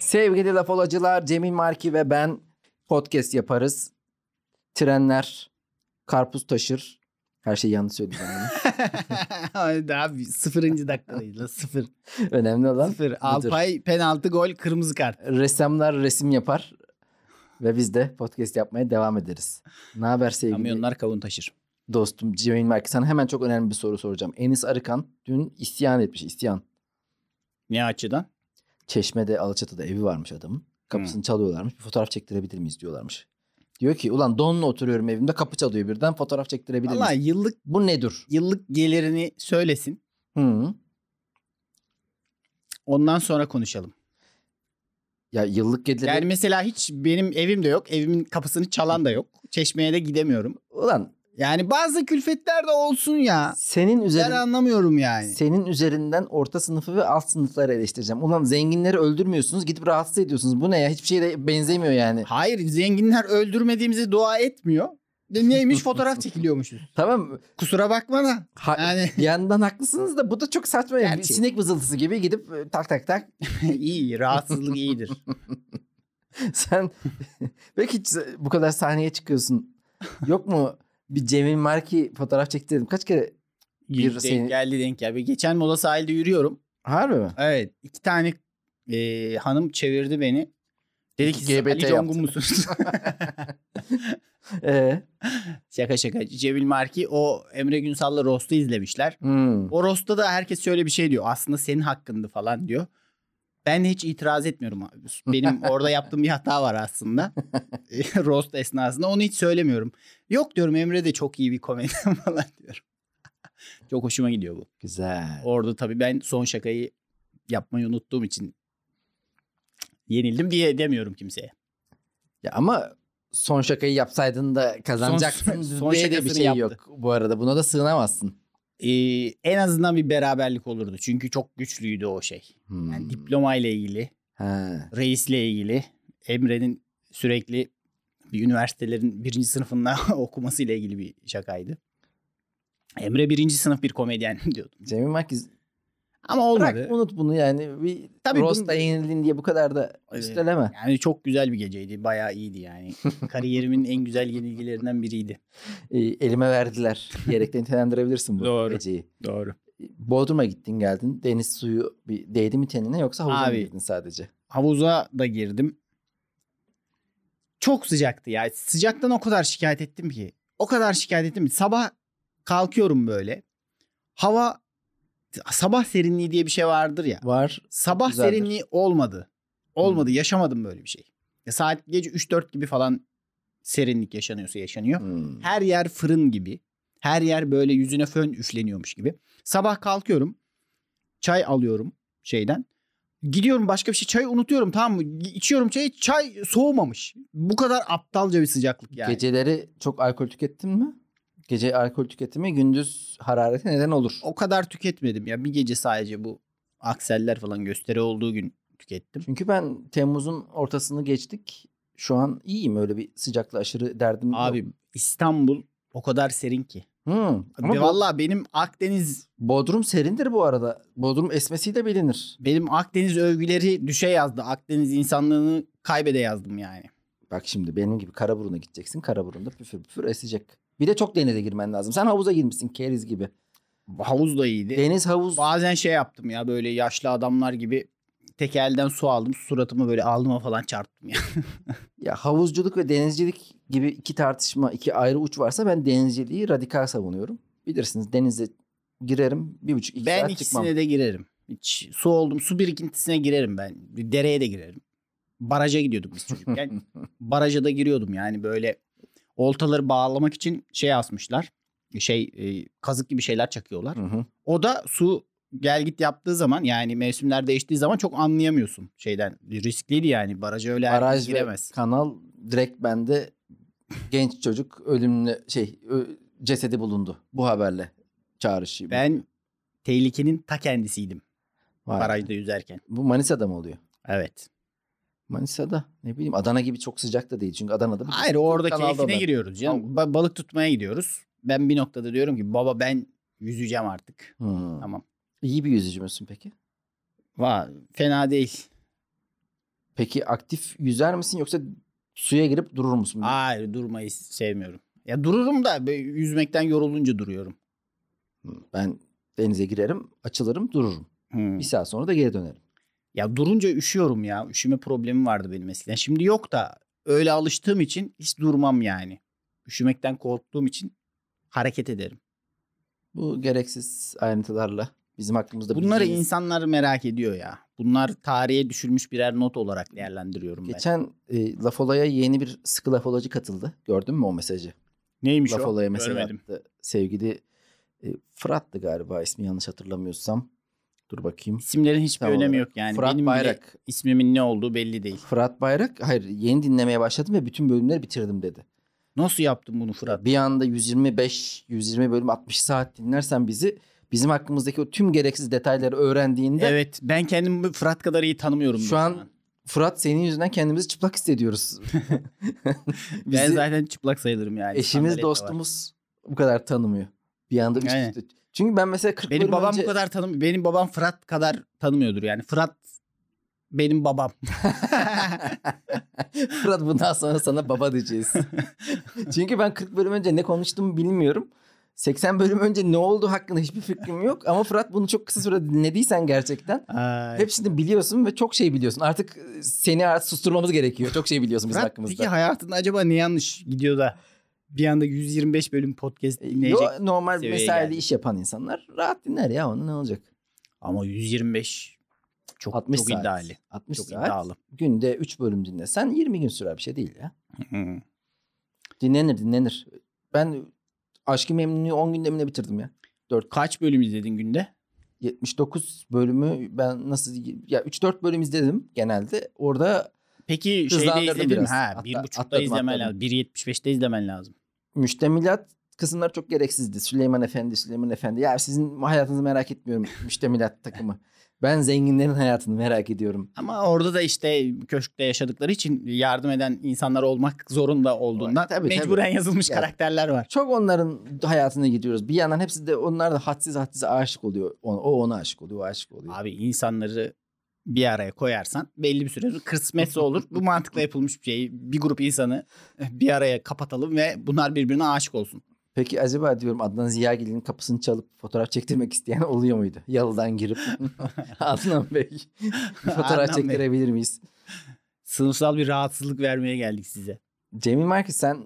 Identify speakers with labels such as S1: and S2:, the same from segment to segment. S1: Sevgili laf olacılar Cemil Marki ve ben podcast yaparız. Trenler karpuz taşır. Her şeyi yanlış söyledim. ben
S2: Haydi abi sıfırıncı dakikadayız la sıfır.
S1: bunu. Önemli olan
S2: Sıfır.
S1: budur.
S2: Alpay penaltı gol kırmızı kart.
S1: ressamlar resim yapar ve biz de podcast yapmaya devam ederiz. Ne haber sevgili
S2: Kamyonlar kavun taşır.
S1: dostum Cemil Marki? Sana hemen çok önemli bir soru soracağım. Enis Arıkan dün isyan etmiş isyan.
S2: Ne açıdan?
S1: Çeşme'de Alaçatı'da evi varmış adamın.
S2: Hmm.
S1: Kapısını çalıyorlarmış. Bir fotoğraf çektirebilir miyiz diyorlarmış. Diyor ki ulan donla oturuyorum evimde kapı çalıyor birden fotoğraf çektirebilir
S2: Valla
S1: miyiz?
S2: yıllık
S1: Bu nedir?
S2: yıllık gelirini söylesin.
S1: Hı.
S2: Ondan sonra konuşalım.
S1: Ya yıllık geliri
S2: Yani mesela hiç benim evim de yok. Evimin kapısını çalan da yok. Çeşmeye de gidemiyorum.
S1: ulan
S2: Yani bazı külfetler de olsun ya.
S1: senin
S2: Ben
S1: üzerinden
S2: anlamıyorum yani.
S1: senin üzerinden orta sınıfı ve alt sınıfları eleştireceğim. Ulan zenginleri öldürmüyorsunuz, gidip rahatsız ediyorsunuz. Bu ne ya? Hiçbir şeye benzemiyor yani.
S2: Hayır zenginler öldürmediğimizi dua etmiyor. De neymiş fotoğraf çekiliyormuşuz.
S1: Tamam mı?
S2: Kusura bakma da.
S1: Ha-
S2: Yani
S1: bir yandan haklısınız da bu da çok saçma. Yani. Bir
S2: Gerçi.
S1: Sinek vızıltısı gibi gidip e, tak tak tak.
S2: iyi rahatsızlık iyidir.
S1: Sen belki hiç e, bu kadar sahneye çıkıyorsun. Yok mu bir Cemil Marki fotoğraf çektirdim. Kaç kere? Bir
S2: denk
S1: seni-
S2: geldi denk geldi. Geçen mola sahilde yürüyorum.
S1: Harbi mi?
S2: Evet. iki tane e, hanım çevirdi beni. Dedi ki siz
S1: LGBT
S2: Ali Congun
S1: yaptı.
S2: musunuz?
S1: Ee,
S2: şaka şaka. Cemil Marki o Emre Günsal'la Rost'u izlemişler.
S1: hmm.
S2: O Rost'ta da herkes şöyle bir şey diyor. Aslında senin hakkındı falan diyor. Ben hiç itiraz etmiyorum. abi. Benim orada yaptığım bir hata var aslında. E, Rost esnasında onu hiç söylemiyorum. Yok diyorum Emre de çok iyi bir komedyen falan diyorum. çok hoşuma gidiyor bu.
S1: Güzel.
S2: Orada tabii ben son şakayı yapmayı unuttuğum için yenildim diye demiyorum kimseye.
S1: Ya ama son şakayı yapsaydın da kazanacaktın.
S2: Son-
S1: Son, de
S2: son
S1: bir
S2: şakasını
S1: şey
S2: yaptı.
S1: yok bu arada. Buna da sığınamazsın.
S2: Ee, en azından bir beraberlik olurdu. Çünkü çok güçlüydü o şey.
S1: Hmm.
S2: Yani diploma ile ilgili,
S1: Ha.
S2: reisle ilgili, Emre'nin sürekli bir üniversitelerin birinci sınıfında okuması ile ilgili bir şakaydı. Emre birinci sınıf bir komedyen diyordum.
S1: Cemil Markiz
S2: Ama
S1: bırak
S2: olmadı.
S1: unut bunu yani. Bir
S2: Tabii
S1: Tabii
S2: bunu-
S1: Rosta yenildin diye bu kadar da
S2: Evet.
S1: üsteleme.
S2: Yani çok güzel bir geceydi. Bayağı iyiydi yani. Kariyerimin en güzel yenilgilerinden biriydi.
S1: Ee, elime verdiler diyerek de nitelendirebilirsin bu
S2: Doğru.
S1: geceyi.
S2: Doğru.
S1: Bodrum'a gittin geldin. Deniz suyu bir değdi mi tenine yoksa havuza mı
S2: Abi.
S1: girdin sadece?
S2: Havuza da girdim. Çok sıcaktı ya. Sıcaktan o kadar şikayet ettim ki. O kadar şikayet ettim ki. Sabah kalkıyorum böyle. Hava sabah serinliği diye bir şey vardır ya.
S1: Var.
S2: Sabah
S1: Güzeldir.
S2: serinliği olmadı. Olmadı. Yaşamadım böyle bir şey. Ya saat gece 3-4 gibi falan serinlik yaşanıyorsa yaşanıyor.
S1: Hmm.
S2: Her yer fırın gibi. Her yer böyle yüzüne fön üfleniyormuş gibi. Sabah kalkıyorum. Çay alıyorum şeyden. Gidiyorum başka bir şey. Çayı unutuyorum tamam mı? Gi- İçiyorum çayı. Çay soğumamış. Bu kadar aptalca bir sıcaklık yani.
S1: Geceleri çok alkol tükettin mi? Gece alkol tüketimi gündüz hararete neden olur.
S2: O kadar tüketmedim ya. Bir gece sadece bu akseller falan gösteri olduğu gün tükettim.
S1: Çünkü ben Temmuz'un ortasını geçtik. Şu an iyiyim öyle bir sıcakla aşırı derdim yok.
S2: Abi İstanbul o kadar serin ki.
S1: Hmm. Ama
S2: Ve
S1: Bo-
S2: Valla benim Akdeniz
S1: Bodrum serindir bu arada. Bodrum esmesiyle bilinir.
S2: benim Akdeniz övgüleri düşe yazdı. Akdeniz insanlığını kaybede yazdım yani.
S1: Bak şimdi benim gibi Karaburun'a gideceksin. Karaburun'da püfür püfür esecek. Bir de çok denize girmen lazım. Sen havuza girmişsin keriz gibi.
S2: Havuz da iyiydi.
S1: Deniz havuz.
S2: Bazen şey yaptım ya böyle yaşlı adamlar gibi tek elden su aldım. Suratımı böyle alnıma falan çarptım ya.
S1: Ya havuzculuk ve denizcilik gibi iki tartışma, iki ayrı uç varsa ben denizciliği radikal savunuyorum. Bilirsiniz denize girerim bir buçuk iki
S2: ben
S1: saat çıkmam.
S2: ikisine de girerim. Hiç su oldum. Su birikintisine girerim ben. Bir dereye de girerim. Baraja gidiyorduk biz çocukken. Baraja da giriyordum yani böyle oltaları bağlamak için şey asmışlar. Şey e, kazık gibi şeyler çakıyorlar.
S1: Hı hı.
S2: O da su gel git yaptığı zaman yani mevsimler değiştiği zaman çok anlayamıyorsun şeyden. Riskliydi yani baraja öyle herkes
S1: Baraj ve
S2: giremez.
S1: kanal direkt bende genç çocuk ölümlü şey ö- cesedi bulundu bu haberle çağrışıyım.
S2: Ben tehlikenin ta kendisiydim
S1: Vay.
S2: barajda yüzerken.
S1: Bu Manisa'da mı oluyor?
S2: Evet.
S1: Manisa'da ne bileyim Adana gibi çok sıcak da değil çünkü Adana'da bir
S2: Hayır orada
S1: Kanalda
S2: keyfine
S1: da.
S2: giriyoruz canım. Ba- balık tutmaya gidiyoruz. Ben bir noktada diyorum ki baba ben yüzeceğim artık.
S1: Hmm.
S2: Tamam.
S1: İyi bir yüzücü müsün peki?
S2: Va fena değil.
S1: Peki aktif yüzer misin yoksa suya girip durur
S2: Hmm.
S1: musun?
S2: Hayır durmayı sevmiyorum. Ya dururum da böyle yüzmekten yorulunca duruyorum.
S1: Hmm. Ben denize girerim, açılırım, dururum.
S2: Hmm.
S1: Bir saat sonra da geri dönerim.
S2: Ya durunca üşüyorum ya. Üşüme problemi vardı benim eskiden. Şimdi yok da öyle alıştığım için hiç durmam yani. Üşümekten korktuğum için hareket ederim.
S1: Bu gereksiz ayrıntılarla bizim hakkımızda
S2: Bunları
S1: bilgiyi-
S2: insanlar merak ediyor ya. Bunlar tarihe düşülmüş birer not olarak değerlendiriyorum ben.
S1: Geçen e, Lafola'ya yeni bir sıkı Lafolacı katıldı. Gördün mü o mesajı?
S2: Neymiş o?
S1: Lafola'ya mesela
S2: Görmedim.
S1: attı. Sevgili e, Fırat'tı galiba ismi yanlış hatırlamıyorsam. Dur bakayım.
S2: İsimlerin hiçbir
S1: Tam
S2: önemi
S1: olarak.
S2: yok yani.
S1: Fırat
S2: Benim bile
S1: Bayrak.
S2: ismimin ne olduğu belli değil.
S1: Fırat Bayrak hayır yeni dinlemeye başladım ve bütün bölümleri bitirdim dedi.
S2: Nasıl yaptın bunu Fırat?
S1: Bir anda 125 120 bölüm 60 saat dinlersen bizi bizim hakkımızdaki o tüm gereksiz detayları öğrendiğinde
S2: Evet ben kendimi Fırat kadar iyi tanımıyorum.
S1: Şu
S2: ben
S1: an Fırat senin yüzünden kendimizi çıplak hissediyoruz. Bizi
S2: ben zaten çıplak sayılırım yani. Sandalet
S1: eşimiz
S2: de var.
S1: dostumuz bu kadar tanımıyor. Bir anda üst
S2: Aynen.
S1: üste. Çünkü ben mesela 40
S2: Benim
S1: bölüm
S2: babam
S1: önce-
S2: bu kadar tanım benim babam Fırat kadar tanımıyordur yani. Fırat benim babam.
S1: Fırat bundan sonra sana baba diyeceğiz. Çünkü ben 40 bölüm önce ne konuştuğumu bilmiyorum. 80 bölüm önce ne oldu hakkında hiçbir fikrim yok. Ama Fırat bunu çok kısa sürede dinlediysen gerçekten
S2: Ay.
S1: hepsini biliyorsun ve çok şey biliyorsun. Artık seni artık susturmamız gerekiyor. Çok şey biliyorsun bizim
S2: Fırat peki
S1: hakkımızda.
S2: hayatında acaba ne yanlış gidiyor da bir anda 125 bölüm podcast
S1: E, Yo,
S2: dinleyecek.
S1: normal
S2: seviyeye
S1: mesaili
S2: geldi.
S1: iş yapan insanlar rahat dinler ya onun ne olacak?
S2: Ama 125 çok
S1: 60
S2: çok
S1: saat.
S2: iddialı.
S1: 60
S2: Çok
S1: saat.
S2: iddialı.
S1: Günde 3 bölüm dinlesen 20 gün sürer bir şey değil ya.
S2: Hı.
S1: Dinlenir dinlenir. Ben Aşkı Memnun'u 10 günde mi ne bitirdim ya?
S2: Kaç bölüm izledin günde?
S1: 79 bölümü ben nasıl ya 3-4 bölüm izledim genelde. Orada
S2: Peki şeyde
S1: Hızlandırdım
S2: izledin mi?
S1: biraz.
S2: Ha,
S1: Atla-
S2: 1.5'da
S1: atladım,
S2: izlemen
S1: atladım.
S2: lazım. 1.75'te izlemen lazım.
S1: müştemilat kısımlar çok gereksizdi. Süleyman Efendi, Süleyman Efendi. Ya sizin hayatınızı merak etmiyorum müştemilat takımı. Ben zenginlerin hayatını merak ediyorum.
S2: Ama orada da işte köşkte yaşadıkları için yardım eden insanlar olmak zorunda olduğundan
S1: Tabii, tabii.
S2: mecburen yazılmış
S1: Ya.
S2: karakterler var.
S1: Çok onların hayatına gidiyoruz. Bir yandan hepsi de onlar da hadsiz hadsiz aşık oluyor. O, o ona aşık oluyor, o aşık oluyor.
S2: Abi insanları bir araya koyarsan belli bir süre sonra kısmetse olur. Bu mantıkla yapılmış bir şey. Bir grup insanı bir araya kapatalım ve bunlar birbirine aşık olsun.
S1: Peki acaba diyorum Adnan Ziyagil'in kapısını çalıp fotoğraf çektirmek isteyen oluyor muydu? Yalıdan girip Adnan Bey bir
S2: Adnan
S1: fotoğraf
S2: Bey.
S1: çektirebilir miyiz?
S2: Sınıfsal bir rahatsızlık vermeye geldik size.
S1: Cemil Marki sen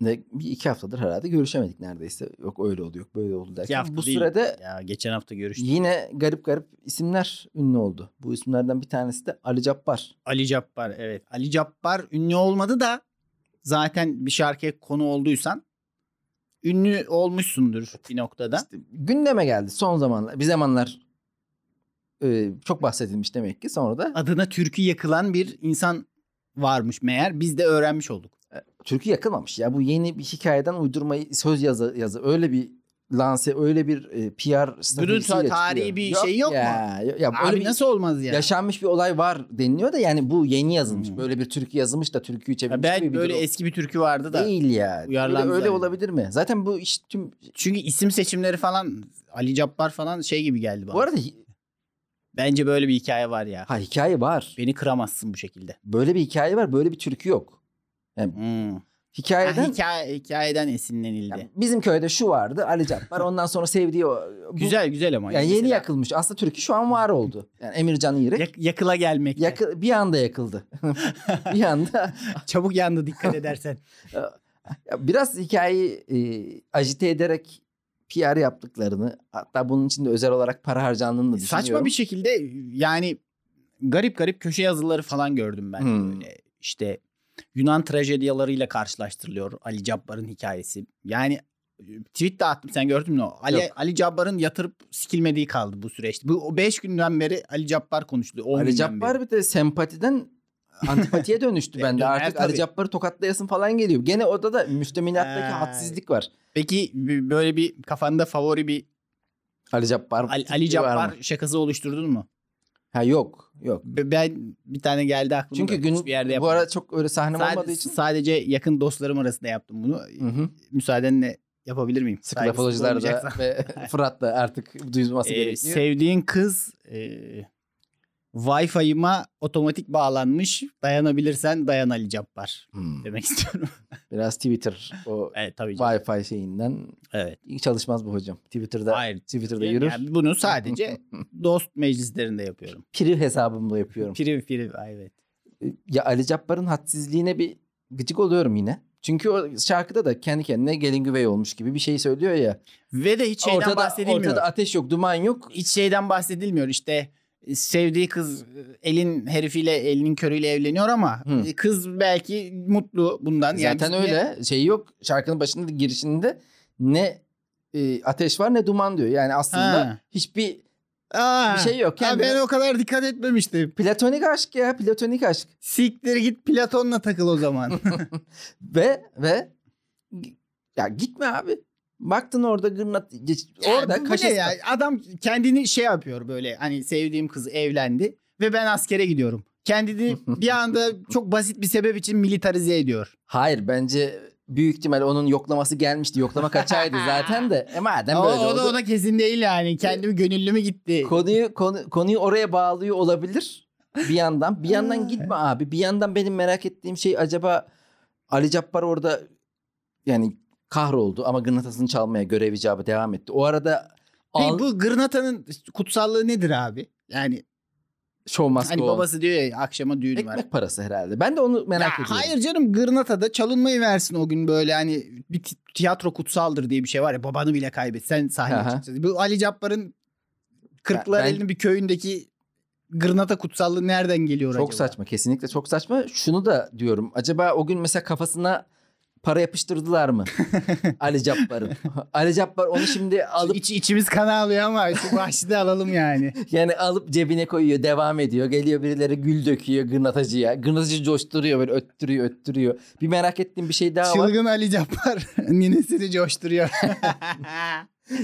S1: ne, bir iki haftadır herhalde görüşemedik neredeyse. Yok öyle oldu yok böyle oldu
S2: İki
S1: derken.
S2: hafta
S1: Bu
S2: değil.
S1: sürede
S2: Ya geçen hafta görüştük.
S1: yine garip garip isimler ünlü oldu. Bu isimlerden bir tanesi de Ali Cabbar.
S2: Ali Cabbar evet. Ali Cabbar ünlü olmadı da zaten bir şarkıya konu olduysan ünlü olmuşsundur bir noktada.
S1: Gündeme geldi son zamanlar. Bir zamanlar e, çok bahsedilmiş demek ki. Sonra da
S2: adına türkü yakılan bir insan varmış meğer. Biz de öğrenmiş olduk.
S1: Türkü yakılmamış ya bu yeni bir hikayeden uydurmayı söz yazı yazı öyle bir lanse öyle bir e, PR stratejisiyle
S2: ta- tarihi
S1: çıkıyor.
S2: bir şey yok mu?
S1: ya, mu? Ya
S2: Abi
S1: böyle bir
S2: nasıl olmaz ya?
S1: yaşanmış bir olay var deniliyor da yani bu yeni yazılmış.
S2: Hmm.
S1: Böyle bir türkü yazılmış da türküyü
S2: Ya
S1: çevirmiş gibi
S2: ben
S1: bir
S2: böyle
S1: durum.
S2: eski bir türkü vardı da.
S1: değil ya. Öyle,
S2: uyarlandı
S1: öyle
S2: zannediyorum.
S1: olabilir mi? Zaten bu iş tüm
S2: Çünkü isim seçimleri falan Ali Cabbar falan şey gibi geldi bana.
S1: bu arada hi-
S2: Bence böyle bir hikaye var ya.
S1: ha hikaye var.
S2: Beni kıramazsın bu şekilde.
S1: Böyle bir hikaye var, böyle bir türkü yok.
S2: Hmm. Ha,
S1: Hikayeden
S2: hikaye, hikayeden esinlenildi.
S1: yani bizim köyde şu vardı, Ali Cabbar ondan sonra sevdiği o- bu-
S2: güzel güzel ama.
S1: Yani yeni
S2: Mesela
S1: yakılmış. Aslında türkü şu an var oldu. Yani Emircan İrek.
S2: yak- yakıla gelmek.
S1: Yakı- bir anda yakıldı. bir anda.
S2: Çabuk yandı dikkat edersen.
S1: Ya Biraz hikayeyi e, ajite ederek PR yaptıklarını hatta bunun için de özel olarak para harcandığını da düşünüyorum.
S2: Saçma bir şey şekilde yani garip garip köşe yazıları falan gördüm ben.
S1: Hmm.
S2: Böyle işte Yunan trajediyalarıyla karşılaştırılıyor Ali Cabbar'ın hikayesi. Yani e, tweet de attım sen gördün mü? o? Ali,
S1: Yok.
S2: Ali Cabbar'ın yatırıp sikilmediği kaldı bu süreçte. Bu 5 günden beri Ali Cabbar konuşuluyor. on
S1: Ali
S2: günden
S1: Cabbar
S2: beri.
S1: bir de sempatiden antipatiye dönüştü
S2: E,
S1: bende.
S2: döner
S1: Artık Ali
S2: tabii.
S1: Cabbar'ı tokatlayasın falan geliyor. Gene orada da müstemilattaki
S2: Ay.
S1: hadsizlik var.
S2: Peki b- böyle bir kafanda favori bir
S1: Ali Cabbar.
S2: Ali,
S1: tipi
S2: Ali
S1: var mı?
S2: Cabbar şakası oluşturdun mu?
S1: Ha yok. Yok.
S2: B- Ben bir tane geldi aklıma.
S1: Çünkü
S2: da.
S1: gün
S2: Hiçbir yerde
S1: bu
S2: yapmadım.
S1: ara çok öyle sahnem
S2: sadece,
S1: olmadığı için.
S2: sadece yakın dostlarım arasında yaptım bunu.
S1: Hı hı.
S2: müsaadenle yapabilir miyim?
S1: Sıkı
S2: Saygısızlık
S1: lafolojiler da
S2: olmayacaksa.
S1: ve Fırat da artık duyulması
S2: Ee,
S1: gerekiyor.
S2: sevdiğin kız e, Wi-Fi'ma otomatik bağlanmış. Dayanabilirsen dayan Ali Cabbar
S1: Hmm.
S2: demek istiyorum.
S1: Biraz Twitter o
S2: evet tabii. canım.
S1: Wi-Fi şeyinden
S2: Evet.
S1: iyi çalışmaz bu hocam. Twitter'da
S2: Hayır.
S1: Twitter'da yürür.
S2: Yani bunu sadece dost meclislerinde yapıyorum.
S1: Priv hesabımla yapıyorum.
S2: Priv priv evet.
S1: Ya Ali Cabbar'ın hadsizliğine bir gıcık oluyorum yine. Çünkü o şarkıda da kendi kendine gelin güvey olmuş gibi bir şey söylüyor ya.
S2: Ve de hiç şeyden
S1: ortada,
S2: bahsedilmiyor.
S1: ortada ateş yok, duman yok.
S2: Hiç şeyden bahsedilmiyor işte sevdiği kız e, elin herifiyle elinin körüyle evleniyor ama e,
S1: Hı.
S2: kız belki mutlu bundan. Yani
S1: Zaten
S2: biz-
S1: öyle. Şey yok. Şarkının başında girişinde ne e, ateş var ne duman diyor. Yani aslında
S2: Ha.
S1: hiçbir
S2: Aa,
S1: Bir şey yok.
S2: ha,
S1: Kendine-
S2: ben o kadar dikkat etmemiştim.
S1: platonik aşk ya, platonik aşk.
S2: Siktir git Platon'la takıl o zaman.
S1: Ve ve ya gitme abi. Baktın orada gırnat geç- orada
S2: bu, bu ne
S1: kaşes-
S2: ya? Adam kendini şey yapıyor böyle hani sevdiğim kız evlendi ve ben askere gidiyorum. Kendini bir anda çok basit bir sebep için militarize ediyor.
S1: Hayır bence büyük ihtimal onun yoklaması gelmişti. Yoklama kaçaydı zaten de. E madem
S2: Ama
S1: böyle
S2: o
S1: oldu.
S2: da, o da kesin değil yani. Kendimi gönüllü mü gitti?
S1: Konuyu konu, konuyu oraya bağlıyor olabilir. Bir yandan bir yandan gitme abi. Bir yandan benim merak ettiğim şey acaba Ali Cabbar orada yani kahroldu ama gırnatasını çalmaya görev icabı devam etti. O arada
S2: Peki
S1: al,
S2: bu gırnatanın kutsallığı nedir abi? Yani
S1: show must
S2: hani
S1: go on.
S2: babası diyor ya akşama düğün var.
S1: Ekmek parası herhalde. Ben de onu merak
S2: Ya
S1: ediyorum.
S2: hayır canım Gırnata'da çalınmayı versin o gün böyle hani bir ti- tiyatro kutsaldır diye bir şey var ya babanı bile kaybetsen sahneye
S1: Aha.
S2: çıkacaksın. Bu Ali Cabbar'ın Kırklar
S1: Ben-
S2: elinin bir köyündeki Gırnata kutsallığı nereden geliyor acaba?
S1: Çok saçma. Kesinlikle çok saçma. Şunu da diyorum. Acaba o gün mesela kafasına para yapıştırdılar mı? Ali Cabbar'ın. Ali Cabbar onu şimdi alıp
S2: İç, içimiz kan ağlıyor ama şu bahşişi de alalım yani.
S1: yani alıp cebine koyuyor, devam ediyor. Geliyor birileri gül döküyor gırnatacıya. Gırnatacı coşturuyor böyle öttürüyor, öttürüyor. Bir merak ettiğim bir şey daha var.
S2: Çılgın Ali Cabbar ninesini coşturuyor.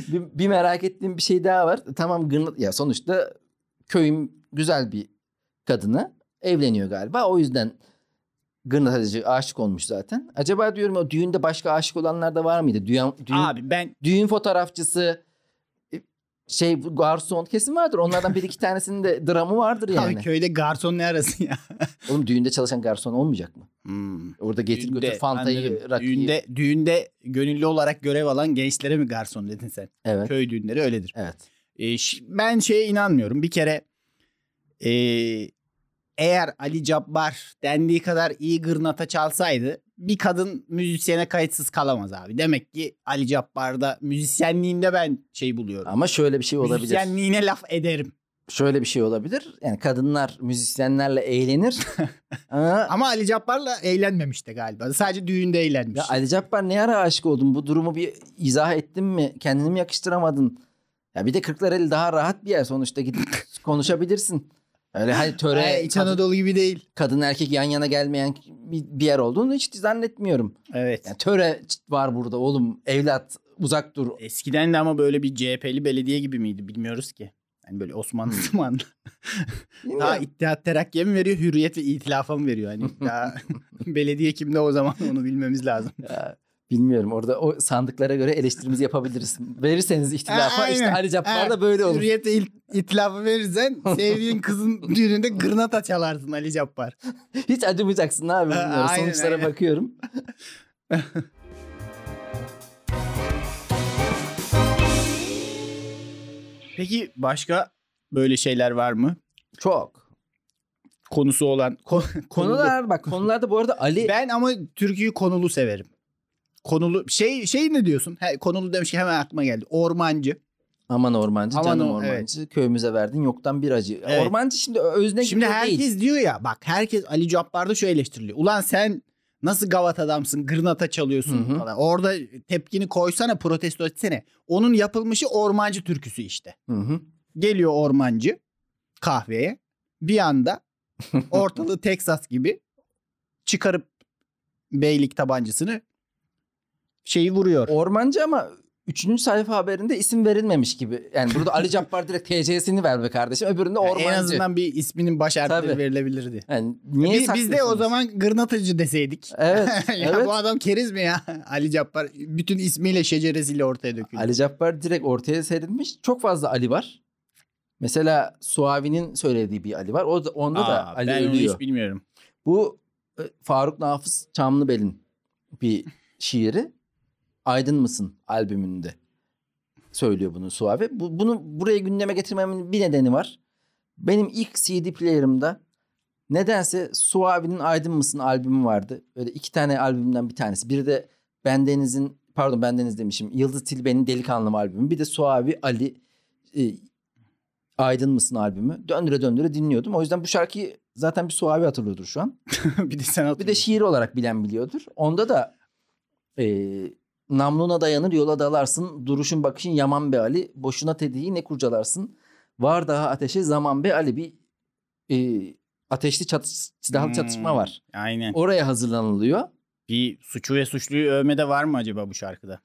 S1: Bir, bir merak ettiğim bir şey daha var. Tamam gırnat ya sonuçta köyün güzel bir kadını evleniyor galiba. O yüzden gırnatacı aşık olmuş zaten. Acaba diyorum o düğünde başka aşık olanlar da var mıydı? Düğün, düğün,
S2: Abi ben
S1: düğün fotoğrafçısı şey garson kesin vardır. Onlardan bir iki tanesinin de dramı vardır yani.
S2: abi köyde garson ne arasın ya?
S1: Oğlum düğünde çalışan garson olmayacak mı? Orada getir
S2: Hmm, Düğünde,
S1: götür fantayı,
S2: anladım.
S1: rakıyı.
S2: Düğünde, düğünde gönüllü olarak görev alan gençlere mi garson dedin sen?
S1: Evet.
S2: Köy düğünleri öyledir.
S1: Evet.
S2: E, ş- ben şeye inanmıyorum. Bir kere e, eğer Ali Cabbar dendiği kadar iyi gırnata çalsaydı bir kadın müzisyene kayıtsız kalamaz abi. Demek ki Ali Cabbar'da müzisyenliğinde ben şey buluyorum.
S1: Ama şöyle bir şey olabilir.
S2: Müzisyenliğine laf ederim.
S1: Şöyle bir şey olabilir. Yani kadınlar müzisyenlerle eğlenir. Ama
S2: Ama Ali Cabbar'la eğlenmemiş de galiba. Sadece düğünde eğlenmiş.
S1: ya Ali Cabbar ne ara aşık oldun? Bu durumu bir izah ettin mi? Kendini mi yakıştıramadın? Ya bir de Kırklareli daha rahat bir yer sonuçta gidip konuşabilirsin. Öyle hani töre
S2: Ay, İç
S1: kadın,
S2: Anadolu gibi değil.
S1: kadın erkek yan yana gelmeyen bir, bir yer olduğunu hiç zannetmiyorum.
S2: Evet.
S1: Yani töre var burada oğlum evlat uzak dur.
S2: Eskiden de ama böyle bir CHP'li belediye gibi miydi bilmiyoruz ki. Yani böyle Osmanlı
S1: Hmm.
S2: zamanında. Daha İttihat Terakki'ye mi veriyor, Hürriyet ve İtilaf'a mı veriyor? Hani daha belediye kimde o zaman onu bilmemiz lazım.
S1: Ya, bilmiyorum orada o sandıklara göre eleştirimizi yapabiliriz. Verirseniz ihtilafa
S2: Ha,
S1: işte
S2: aynen.
S1: Ali Cabbar
S2: Ha,
S1: da böyle olur.
S2: Hürriyet ve İl- İtilaf'ı verirsen sevdiğin kızın düğününde gırnata çalarsın Ali Cabbar.
S1: Hiç acımayacaksın abi
S2: Ha,
S1: bilmiyorum.
S2: aynen,
S1: Sonuçlara
S2: aynen.
S1: bakıyorum.
S2: Peki başka böyle şeyler var mı?
S1: Çok.
S2: Konusu olan. ko-
S1: Konular bak konularda bu arada Ali
S2: Ben ama türküyü konulu severim. Konulu şey şey ne diyorsun? He, konulu demiş ki hemen aklıma geldi. Ormancı.
S1: aman ormancı
S2: Aman
S1: canım
S2: o-
S1: ormancı köyümüze verdin yoktan bir acı.
S2: Evet.
S1: Ormancı şimdi özne
S2: Şimdi
S1: gibi
S2: herkes
S1: değil.
S2: diyor ya bak herkes Ali Cabbar'da şu eleştiriliyor. Ulan sen nasıl gavat adamsın gırnata çalıyorsun
S1: Hı hı.
S2: falan. Orada tepkini koysana protesto etsene. Onun yapılmışı ormancı türküsü işte.
S1: Hı hı.
S2: Geliyor ormancı kahveye bir anda ortalığı Texas gibi çıkarıp beylik tabancasını şeyi vuruyor.
S1: Ormancı ama üçüncü sayfa haberinde isim verilmemiş gibi. Yani burada Ali Cabbar direkt TC'sini ver be kardeşim. Öbüründe
S2: Yani
S1: ormancı.
S2: En azından bir isminin baş harfleri
S1: Tabii.
S2: verilebilirdi.
S1: Yani niye
S2: Biz, biz de o
S1: saklıyorsunuz?
S2: zaman gırnatacı deseydik.
S1: Evet.
S2: ya
S1: evet.
S2: bu adam keriz mi ya? Ali Cabbar bütün ismiyle şeceresiyle ortaya döküldü.
S1: Ali Cabbar direkt ortaya serilmiş. Çok fazla Ali var. Mesela Suavi'nin söylediği bir Ali var. O da, onda da
S2: Aa,
S1: Ali
S2: ben onu
S1: ölüyor.
S2: hiç bilmiyorum.
S1: Bu e, Faruk Nafız Çamlıbel'in bir şiiri. Aydın mısın albümünde söylüyor bunu Suavi. Bu, bunu buraya gündeme getirmemin bir nedeni var. Benim ilk CD player'ımda nedense Suavi'nin Aydın mısın albümü vardı. Böyle iki tane albümden bir tanesi. Biri de Bendeniz'in pardon Bendeniz demişim. Yıldız Tilbe'nin Delikanlım albümü. Bir de Suavi Ali e, Aydın mısın albümü. Döndüre döndüre dinliyordum. O yüzden bu şarkıyı zaten bir Suavi hatırlıyordur şu an.
S2: bir de sen
S1: Bir de
S2: hatırlıyorsun.
S1: şiir olarak bilen biliyordur. Onda da e, namluna dayanır yola dalarsın. Duruşun bakışın yaman be Ali. Boşuna tediği ne kurcalarsın. Var daha ateşe zaman be Ali. Bir e, ateşli çatış, silahlı
S2: Hmm.
S1: çatışma var.
S2: Aynen.
S1: Oraya hazırlanılıyor.
S2: Bir suçu ve suçluyu övmede var mı acaba bu şarkıda?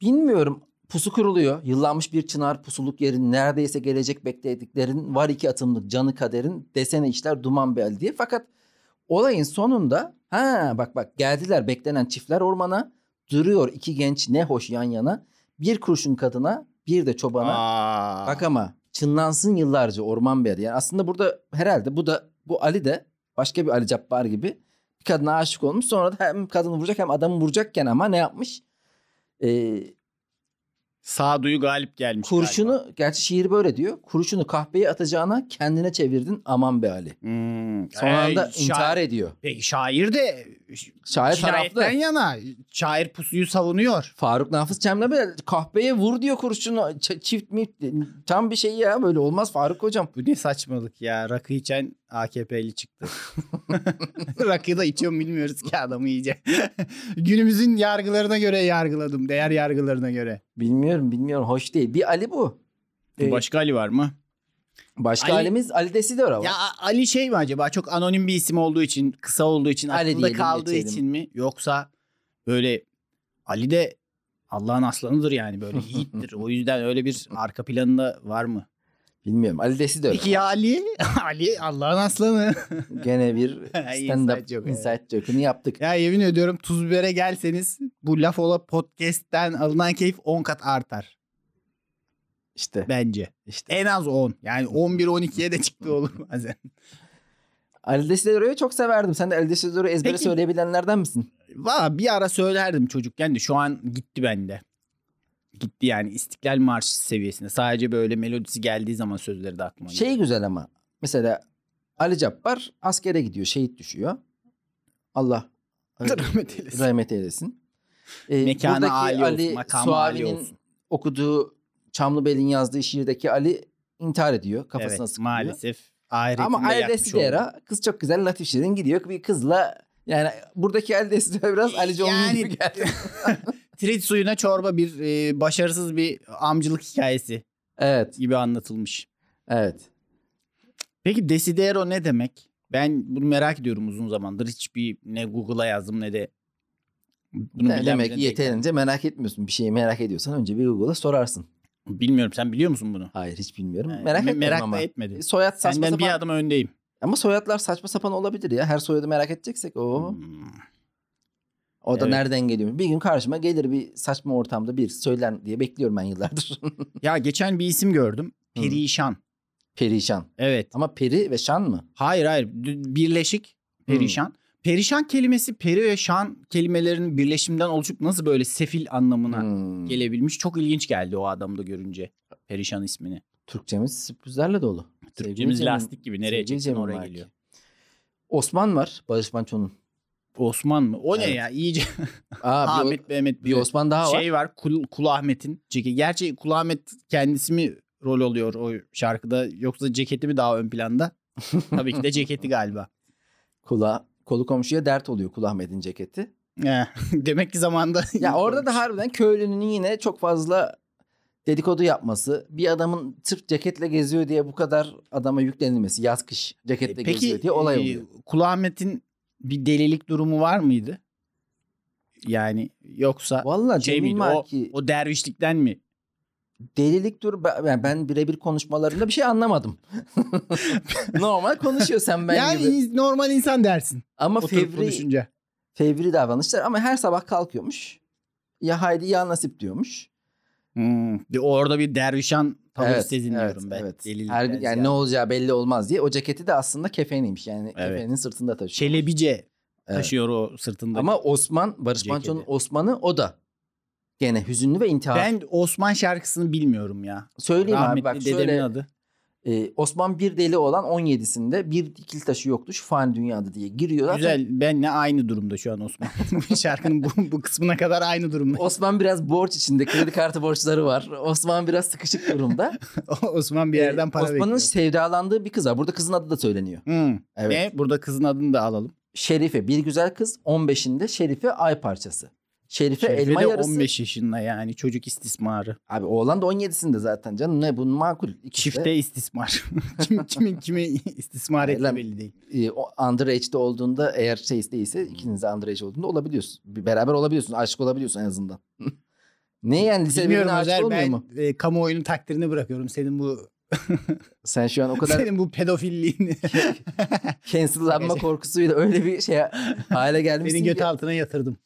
S1: Bilmiyorum pusu kuruluyor. Yıllanmış bir çınar pusuluk yerin neredeyse gelecek beklediklerin var iki atımlık canı kaderin desene işler duman bel diye. Fakat olayın sonunda ha bak bak geldiler beklenen çiftler ormana duruyor iki genç ne hoş yan yana bir kurşun kadına bir de çobana.
S2: Aa.
S1: Bak ama çınlansın yıllarca Orman Bey'e. Yani aslında burada herhalde bu da bu Ali de başka bir Ali Cabbar gibi bir kadına aşık olmuş. Sonra da hem kadını vuracak hem adamı vuracakken ama ne yapmış? Ee,
S2: Sağduyu galip gelmiş.
S1: kurşunu
S2: galiba.
S1: gerçi şiir böyle diyor. Kurşunu kahveye atacağına kendine çevirdin aman be Ali.
S2: Hmm.
S1: Son
S2: Ee,
S1: anda
S2: şa-
S1: intihar ediyor.
S2: Peki şair de
S1: Şair taraflı.
S2: cinayetten yana. Şair pusuyu savunuyor.
S1: Faruk Nafız Çemlemel kahpeye vur diyor kurşunu. Ç- çift mi? Tam bir şey ya böyle olmaz Faruk hocam.
S2: Bu ne saçmalık ya. Rakı içen AKP'li çıktı. Rakıyı da içiyor mu bilmiyoruz ki adamı iyice. Günümüzün yargılarına göre yargıladım. Değer yargılarına göre.
S1: Bilmiyorum bilmiyorum hoş değil. Bir Ali bu. Ee,
S2: Başka Ali var mı?
S1: başka
S2: Ali-
S1: halimiz Ali Desidora var.
S2: Ya Ali şey mi acaba? Çok anonim bir isim olduğu için, kısa olduğu için,
S1: Ali
S2: aklında
S1: diyelim,
S2: kaldığı
S1: geçelim.
S2: için mi? Yoksa böyle Ali de Allah'ın aslanıdır yani böyle yiğittir. o yüzden öyle bir arka planında var mı?
S1: Bilmiyorum. Ali Desi de öyle.
S2: Peki ya Ali? Ali Allah'ın aslanı.
S1: Gene bir
S2: Inside
S1: stand-up
S2: joke,
S1: inside joke'unu yaptık.
S2: Ya yemin ediyorum tuz bibere gelseniz bu laf ola podcast'ten alınan keyif 10 kat artar
S1: İşte.
S2: bence.
S1: işte.
S2: En az 10. Yani 11-12'ye de çıktı olur bazen.
S1: Ali Desidora'yı çok severdim. Sen de Ali Desidora'yı ezbere
S2: Peki-
S1: söyleyebilenlerden misin?
S2: Valla bir ara söylerdim çocukken de şu an gitti bende. Gitti yani İstiklal Marşı seviyesinde. Sadece böyle melodisi geldiği zaman sözleri de aklıma geliyor.
S1: Şey güzel ama. Mesela Ali Cabbar askere gidiyor. Şehit düşüyor. Allah Şey,
S2: Rahmet eylesin.
S1: rahmet eylesin. Ee,
S2: Mekanı
S1: buradaki
S2: âli olsun, makamı âli
S1: Suavi'nin
S2: olsun.
S1: okuduğu Çamlıbel'in yazdığı şiirdeki Ali intihar ediyor. Kafasına
S2: evet,
S1: sıkıyor.
S2: maalesef. Ahiretinde
S1: Ama Ali
S2: yakmış oldu.
S1: Desidera kız çok güzel Latif Şirin gidiyor bir kızla yani buradaki Ali Desidera biraz Ali John'un
S2: Yani-
S1: gibi geldi.
S2: Tirit suyuna çorba bir e, başarısız bir amcılık hikayesi
S1: evet
S2: gibi anlatılmış.
S1: evet.
S2: Peki desidero ne demek? Ben bunu merak ediyorum uzun zamandır. Hiçbir ne Google'a yazdım ne de bunu
S1: Ne
S2: bilen
S1: demek
S2: birine
S1: yeterince merak etmiyorsun bir şeyi merak ediyorsan önce bir Google'a sorarsın.
S2: denk- Bilmiyorum sen biliyor musun bunu?
S1: Hayır hiç bilmiyorum
S2: Yani
S1: merak
S2: me-
S1: etmiyorum
S2: merak
S1: ama.
S2: da etmedi.
S1: Soyad saçma
S2: Senden
S1: sapan
S2: bir adım öndeyim.
S1: ama soyadlar saçma sapan olabilir ya her soyadı merak edeceksek oh. o
S2: Hmm.
S1: o da
S2: Evet.
S1: nereden geliyor bir gün karşıma gelir bir saçma ortamda bir söylen diye bekliyorum ben yıllardır
S2: Ya geçen bir isim gördüm. Perişan.
S1: perişan
S2: Evet.
S1: ama peri ve şan mı
S2: Hayır hayır. D- Birleşik. Perişan. Perişan kelimesi peri ve şan kelimelerinin birleşiminden oluşup nasıl böyle sefil anlamına
S1: Hmm.
S2: gelebilmiş. Çok ilginç geldi o adamda görünce. Perişan ismini.
S1: Türkçemiz sürprizlerle dolu
S2: Türkçemiz
S1: Sevgili Cem'in-
S2: lastik gibi. Nereye
S1: Sevgili
S2: çeksen
S1: Cem'in
S2: oraya
S1: belki.
S2: geliyor.
S1: Osman var Barış Manço'nun.
S2: Osman mı? O ne
S1: Evet.
S2: ya? İyice
S1: Aa, bir,
S2: Ahmet Mehmet.
S1: bir Osman daha var.
S2: şey var. Kul, Kul Ahmet'in ceketi. Gerçi Kul Ahmet kendisi mi rol oluyor o şarkıda yoksa ceketi mi daha ön planda? Tabii ki de ceketi galiba.
S1: Kula, kolu komşuya dert oluyor Kul Ahmet'in ceketi.
S2: Eh, Demek ki zamanında
S1: Ya orada da harbiden köylünün yine çok fazla dedikodu yapması. Bir adamın sırf ceketle geziyor diye bu kadar adama yüklenilmesi. Yaz kış ceketle geziyor diye olay
S2: e,
S1: oluyor.
S2: Kul Ahmet'in bir delilik durumu var mıydı? Yani yoksa
S1: Valla
S2: şey
S1: Cemil
S2: miydi,
S1: Marki
S2: o dervişlikten mi?
S1: delilik dur ben, yani ben birebir konuşmalarında bir şey anlamadım. Normal konuşuyor sen ben
S2: yani
S1: gibi.
S2: in- normal insan dersin.
S1: Ama
S2: Oturup
S1: fevri
S2: konuşunca.
S1: fevri davranışlar ama her sabah kalkıyormuş. Ya haydi ya nasip diyormuş.
S2: Hmm. Bir- Orada bir dervişan tavır
S1: Evet,
S2: seziniyorum
S1: evet,
S2: ben.
S1: evet.
S2: Delilikten
S1: Her gün- yani
S2: ziyade.
S1: ne olacağı belli olmaz diye o ceketi de aslında kefeniymiş. Yani
S2: Evet.
S1: kefenin sırtında taşıyor.
S2: Şelebice
S1: Evet.
S2: taşıyor o sırtında.
S1: Ama Osman Barış
S2: Ceketi.
S1: Manço'nun Osman'ı o da gene hüzünlü ve intihar.
S2: ben Osman şarkısını bilmiyorum ya.
S1: söyleyeyim abi
S2: Rahmetli
S1: bak
S2: dedemin
S1: şöyle
S2: adı.
S1: e, Osman bir deli olan 17'sinde bir dikil taşı yoktu şu fani dünyada diye giriyor. Zaten
S2: Güzel. Benle aynı durumda şu an Osman. Şarkının bu, bu kısmına kadar aynı durumda.
S1: Osman biraz borç içinde kredi kartı borçları var. Osman biraz sıkışık durumda.
S2: Osman bir yerden para
S1: e, Osman'ın
S2: bekliyor.
S1: sevdalandığı bir kız var. Burada kızın adı da söyleniyor.
S2: Hmm.
S1: Evet.
S2: Ve burada kızın adını da alalım.
S1: Şerife bir güzel kız 15'inde Şerife ay parçası. Şerife,
S2: Şerife
S1: Şey, elma
S2: de
S1: yarısı.
S2: 15 yaşında yani çocuk istismarı.
S1: Abi oğlan da 17'sinde zaten canım ne bunun makul. İkisi de,
S2: Çifte istismar. Kim, kimin kimi istismar
S1: Lan-
S2: ettiği belli değil.
S1: e, o underage'de olduğunda eğer şey değilse ikiniz de underage olduğunda olabiliyorsun. Bir- Beraber olabiliyorsun. Aşık olabiliyorsun en azından. ne yani lise birbirine
S2: Bilmiyorum
S1: aşık
S2: Özer
S1: olmuyor
S2: ben
S1: mu?
S2: e, kamuoyunun takdirine bırakıyorum senin bu
S1: Sen şu an o kadar
S2: senin bu pedofilliğini.
S1: cancellanma
S2: Neyse.
S1: korkusuyla öyle bir şey hale gelmişsin
S2: senin
S1: ki.
S2: göt altına yatırdım.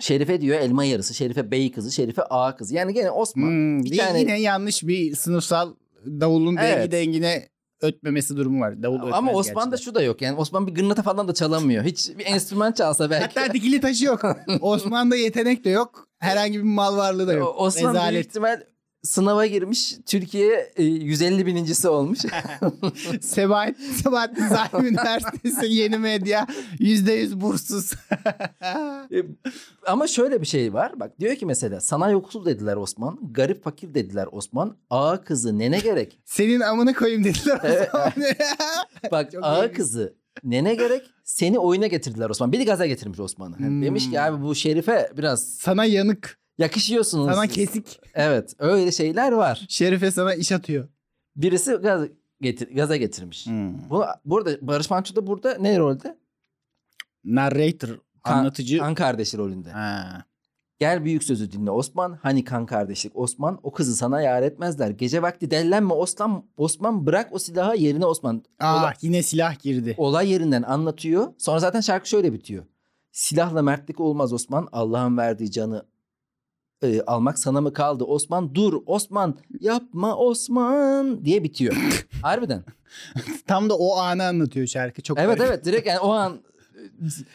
S1: Şerife diyor elma yarısı, Şerife bey kızı, Şerife ağa kızı. Yani gene Osman
S2: Hmm,
S1: bir
S2: bir
S1: tane-
S2: Yine yanlış bir sınıfsal davulun
S1: Evet.
S2: dengi dengine ötmemesi durumu var. Davul
S1: Ama
S2: ötmez
S1: Osman'da
S2: gerçi de.
S1: şu da yok yani. Osman bir gırnata falan da çalamıyor. Hiç bir enstrüman çalsa belki.
S2: Hatta dikili taşı yok. Osman'da yetenek de yok. Herhangi bir mal varlığı da
S1: O-
S2: yok.
S1: Osman büyük
S2: Rezalet.
S1: ihtimal sınava girmiş. Türkiye e, 150 binincisi olmuş.
S2: Sebahat, Sebahat Nizami Üniversitesi yeni medya %100 bursuz.
S1: E, Ama şöyle bir şey var. Bak diyor ki mesela sana yoksul dediler Osman. Garip fakir dediler Osman. Ağa kızı nene gerek.
S2: Senin amına koyayım dediler.
S1: Evet.
S2: Osman.
S1: Bak
S2: Çok
S1: ağa
S2: iyiymiş.
S1: kızı nene gerek. Seni oyuna getirdiler Osman. Bir gaza getirmiş Osman'ı. Yani
S2: Hmm.
S1: Demiş ki abi bu Şerife biraz
S2: sana yanık,
S1: yakışıyorsunuz.
S2: sana
S1: siz."
S2: kesik.
S1: Evet öyle şeyler var.
S2: Şerife sana iş atıyor.
S1: Birisi gaz getir, gaza getirmiş.
S2: Hmm.
S1: Bu, burada Barış Manço da burada ne rolde?
S2: Narrator, anlatıcı.
S1: Kan kardeşi rolünde.
S2: Ha.
S1: Gel büyük sözü dinle Osman. Hani kan kardeşlik Osman. O kızı sana yar etmezler. Gece vakti dellenme Osman. Osman bırak o silahı yerine Osman.
S2: Aa,
S1: Olay-
S2: Ah, yine silah girdi.
S1: Olay yerinden anlatıyor. Sonra zaten şarkı şöyle bitiyor. Silahla mertlik olmaz Osman. Allah'ın verdiği canı e, almak sana mı kaldı? Osman dur Osman yapma Osman diye bitiyor. Harbiden.
S2: Tam da o anı anlatıyor şarkı. Çok
S1: Evet
S2: garip.
S1: evet direkt yani o an.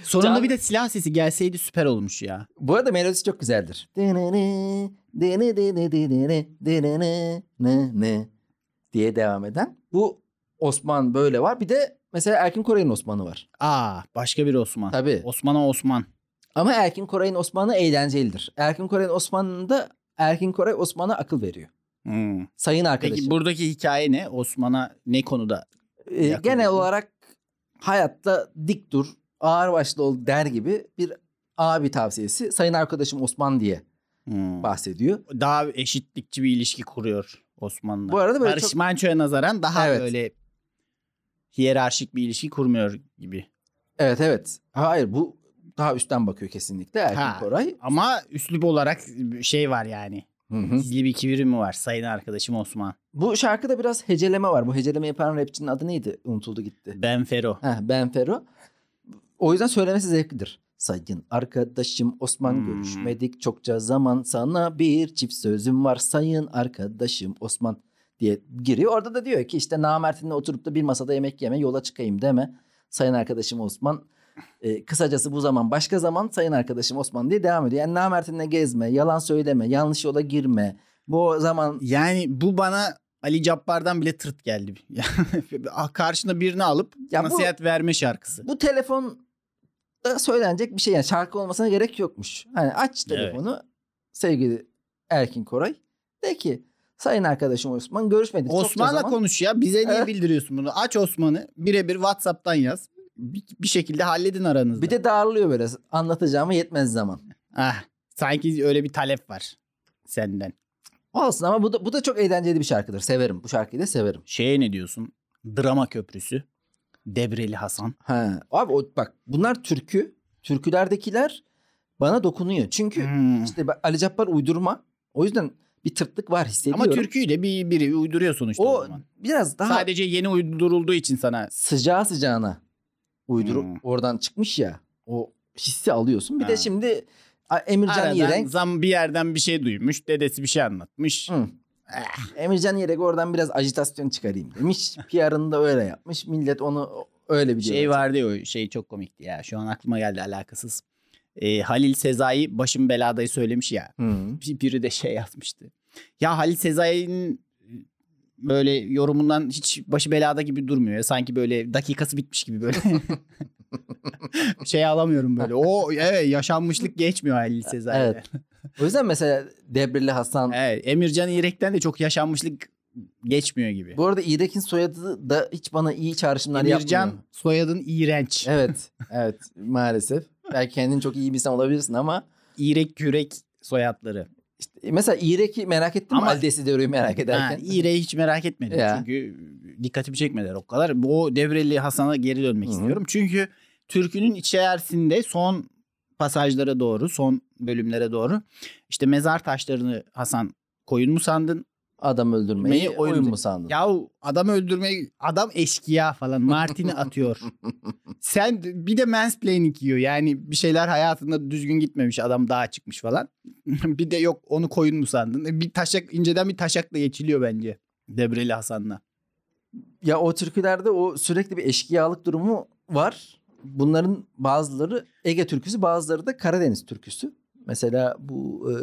S2: Sonunda
S1: Can-
S2: bir de silah sesi gelseydi süper olmuş ya.
S1: Bu arada melodisi çok güzeldir. diye devam eden. Bu Osman böyle var. Bir de mesela Erkin Koray'ın Osman'ı var.
S2: Aa Ah, başka bir Osman.
S1: Tabii.
S2: Osman'a Osman.
S1: Ama Erkin Koray'ın Osman'ı eğlencelidir. Erkin Koray'ın Osman'ında Erkin Koray Osman'a akıl veriyor.
S2: Hmm.
S1: Sayın
S2: Peki
S1: arkadaşım.
S2: buradaki hikaye ne? Osman'a ne konuda?
S1: Ee,
S2: yakın
S1: genel
S2: veriyor.
S1: olarak hayatta dik dur, ağır başlı ol der gibi bir abi tavsiyesi. Sayın arkadaşım Osman diye
S2: Hmm.
S1: bahsediyor.
S2: Daha eşitlikçi bir ilişki kuruyor Osman'la.
S1: Bu arada böyle
S2: Barış
S1: çok-
S2: Manço'ya nazaran daha
S1: Evet.
S2: böyle hiyerarşik bir ilişki kurmuyor gibi.
S1: Evet evet. Hayır bu daha üstten bakıyor kesinlikle Erkin
S2: Ha.
S1: Koray.
S2: Ama üslup olarak şey var yani. Gizli bir kibiri mi var sayın arkadaşım Osman?
S1: Bu şarkıda biraz heceleme var. Bu heceleme yapan rapçinin adı neydi? Unutuldu gitti.
S2: Ben Fero.
S1: Heh, ben Fero. O yüzden söylemesi zevklidir. Sayın arkadaşım Osman
S2: Hmm.
S1: görüşmedik çokça zaman sana bir çift sözüm var sayın arkadaşım Osman diye giriyor. Orada da diyor ki işte namertinle oturup da bir masada yemek yeme yola çıkayım deme sayın arkadaşım Osman. Ee, kısacası bu zaman başka zaman sayın arkadaşım Osman diye devam ediyor. Yani namertinle gezme, yalan söyleme, yanlış yola girme. Bu zaman
S2: Yani bu bana Ali Cabbar'dan bile tırt geldi. Yani Karşına birini alıp
S1: Ya bu-
S2: nasihat verme şarkısı.
S1: bu telefon da söylenecek bir şey yani şarkı olmasına gerek yokmuş. Hani aç
S2: Evet.
S1: telefonu sevgili Erkin Koray de ki sayın arkadaşım Osman görüşmedik. çokça
S2: Osman'la
S1: zaman."
S2: konuş ya. Bize niye
S1: Evet.
S2: bildiriyorsun bunu? Aç Osman'ı birebir WhatsApp'tan yaz. Bir, bir şekilde halledin aranızda.
S1: Bir de darlıyor böyle anlatacağıma yetmez zaman.
S2: Ah, sanki öyle bir talep var senden.
S1: Olsun ama bu da, bu da çok eğlenceli bir şarkıdır. Severim. Bu şarkıyı da severim.
S2: Şeye ne diyorsun? Drama köprüsü. Debreli Hasan.
S1: Ha. Abi o, bak bunlar türkü. Türkülerdekiler bana dokunuyor. Çünkü
S2: Hmm.
S1: işte bak, Ali Cabbar uydurma. O yüzden bir tırtlık var hissediyorum.
S2: Ama türküyü de bir, biri uyduruyor sonuçta o,
S1: o
S2: zaman.
S1: biraz daha
S2: Sadece yeni uydurulduğu için sana
S1: sıcağı sıcağına uydurup
S2: Hmm.
S1: oradan çıkmış ya. O hissi alıyorsun. Bir de
S2: Ha.
S1: şimdi Emircan
S2: Aradan
S1: Yirek.
S2: zam bir yerden bir şey duymuş. Dedesi bir şey anlatmış.
S1: Hı. Emircan Yirek oradan biraz ajitasyon çıkarayım demiş. PR'ını da öyle yapmış. Millet onu öyle bir
S2: Şey vardı ya o şey çok komikti ya. Şu an aklıma geldi alakasız. Ee, Halil Sezai başım beladayı söylemiş ya. Bir, biri de şey yazmıştı. Ya Halil Sezai'nin e, böyle yorumundan hiç başı belada gibi durmuyor. ya. Sanki böyle dakikası bitmiş gibi böyle. şey alamıyorum böyle. O evet yaşanmışlık geçmiyor Halil Sezai'de.
S1: Evet. O yüzden mesela Debrili Hasan.
S2: Evet, Emircan İrek'ten de çok yaşanmışlık geçmiyor gibi.
S1: Bu arada İrek'in soyadı da hiç bana iyi çağrışımlar
S2: Emircan
S1: yapmıyor.
S2: soyadın iğrenç.
S1: Evet. Evet. maalesef. Belki kendin çok iyi bir insan olabilirsin ama
S2: İrek yürek soyadları.
S1: işte mesela İrek'i merak ettim ama
S2: Ama-
S1: Aldesi Dero'yu merak
S2: Ha,
S1: ederken.
S2: İrek'i hiç merak etmedim.
S1: Ya.
S2: Çünkü dikkatimi çekmediler o kadar. Bu Devreli Hasan'a geri dönmek
S1: Hı hı.
S2: istiyorum. Çünkü türkünün içerisinde son pasajlara doğru, son bölümlere doğru işte mezar taşlarını Hasan koyun mu sandın?
S1: Adam öldürmeyi
S2: Meyi
S1: oyun
S2: oyun-
S1: mu sandın?
S2: Yahu adam öldürmeyi adam eşkıya falan Martin'i atıyor. Sen bir de mansplaining yiyor. Yani bir şeyler hayatında düzgün gitmemiş adam dağa çıkmış falan. bir de yok onu koyun mu sandın? E, Bir taşak inceden bir taşakla geçiliyor bence. Debreli Hasan'la.
S1: Ya o türkülerde o sürekli bir eşkıyalık durumu var. Bunların bazıları Ege türküsü bazıları da Karadeniz türküsü. Mesela bu e,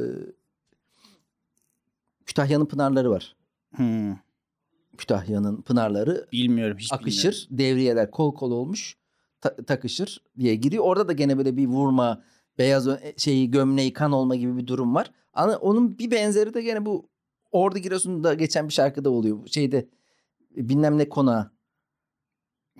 S1: Kütahya'nın pınarları var.
S2: Hmm,
S1: Kütahya'nın pınarları
S2: bilmiyorum hiç bilmiyorum.
S1: akışır, devriyeler kol kol olmuş ta- takışır diye giriyor. Orada da gene böyle bir vurma, beyaz ö- e, şeyi gömleği kan olma gibi bir durum var. Ana, onun bir benzeri de gene bu Ordu Giresun'da geçen bir şarkıda oluyor. Bu Şeyde e, bilmem ne konağı.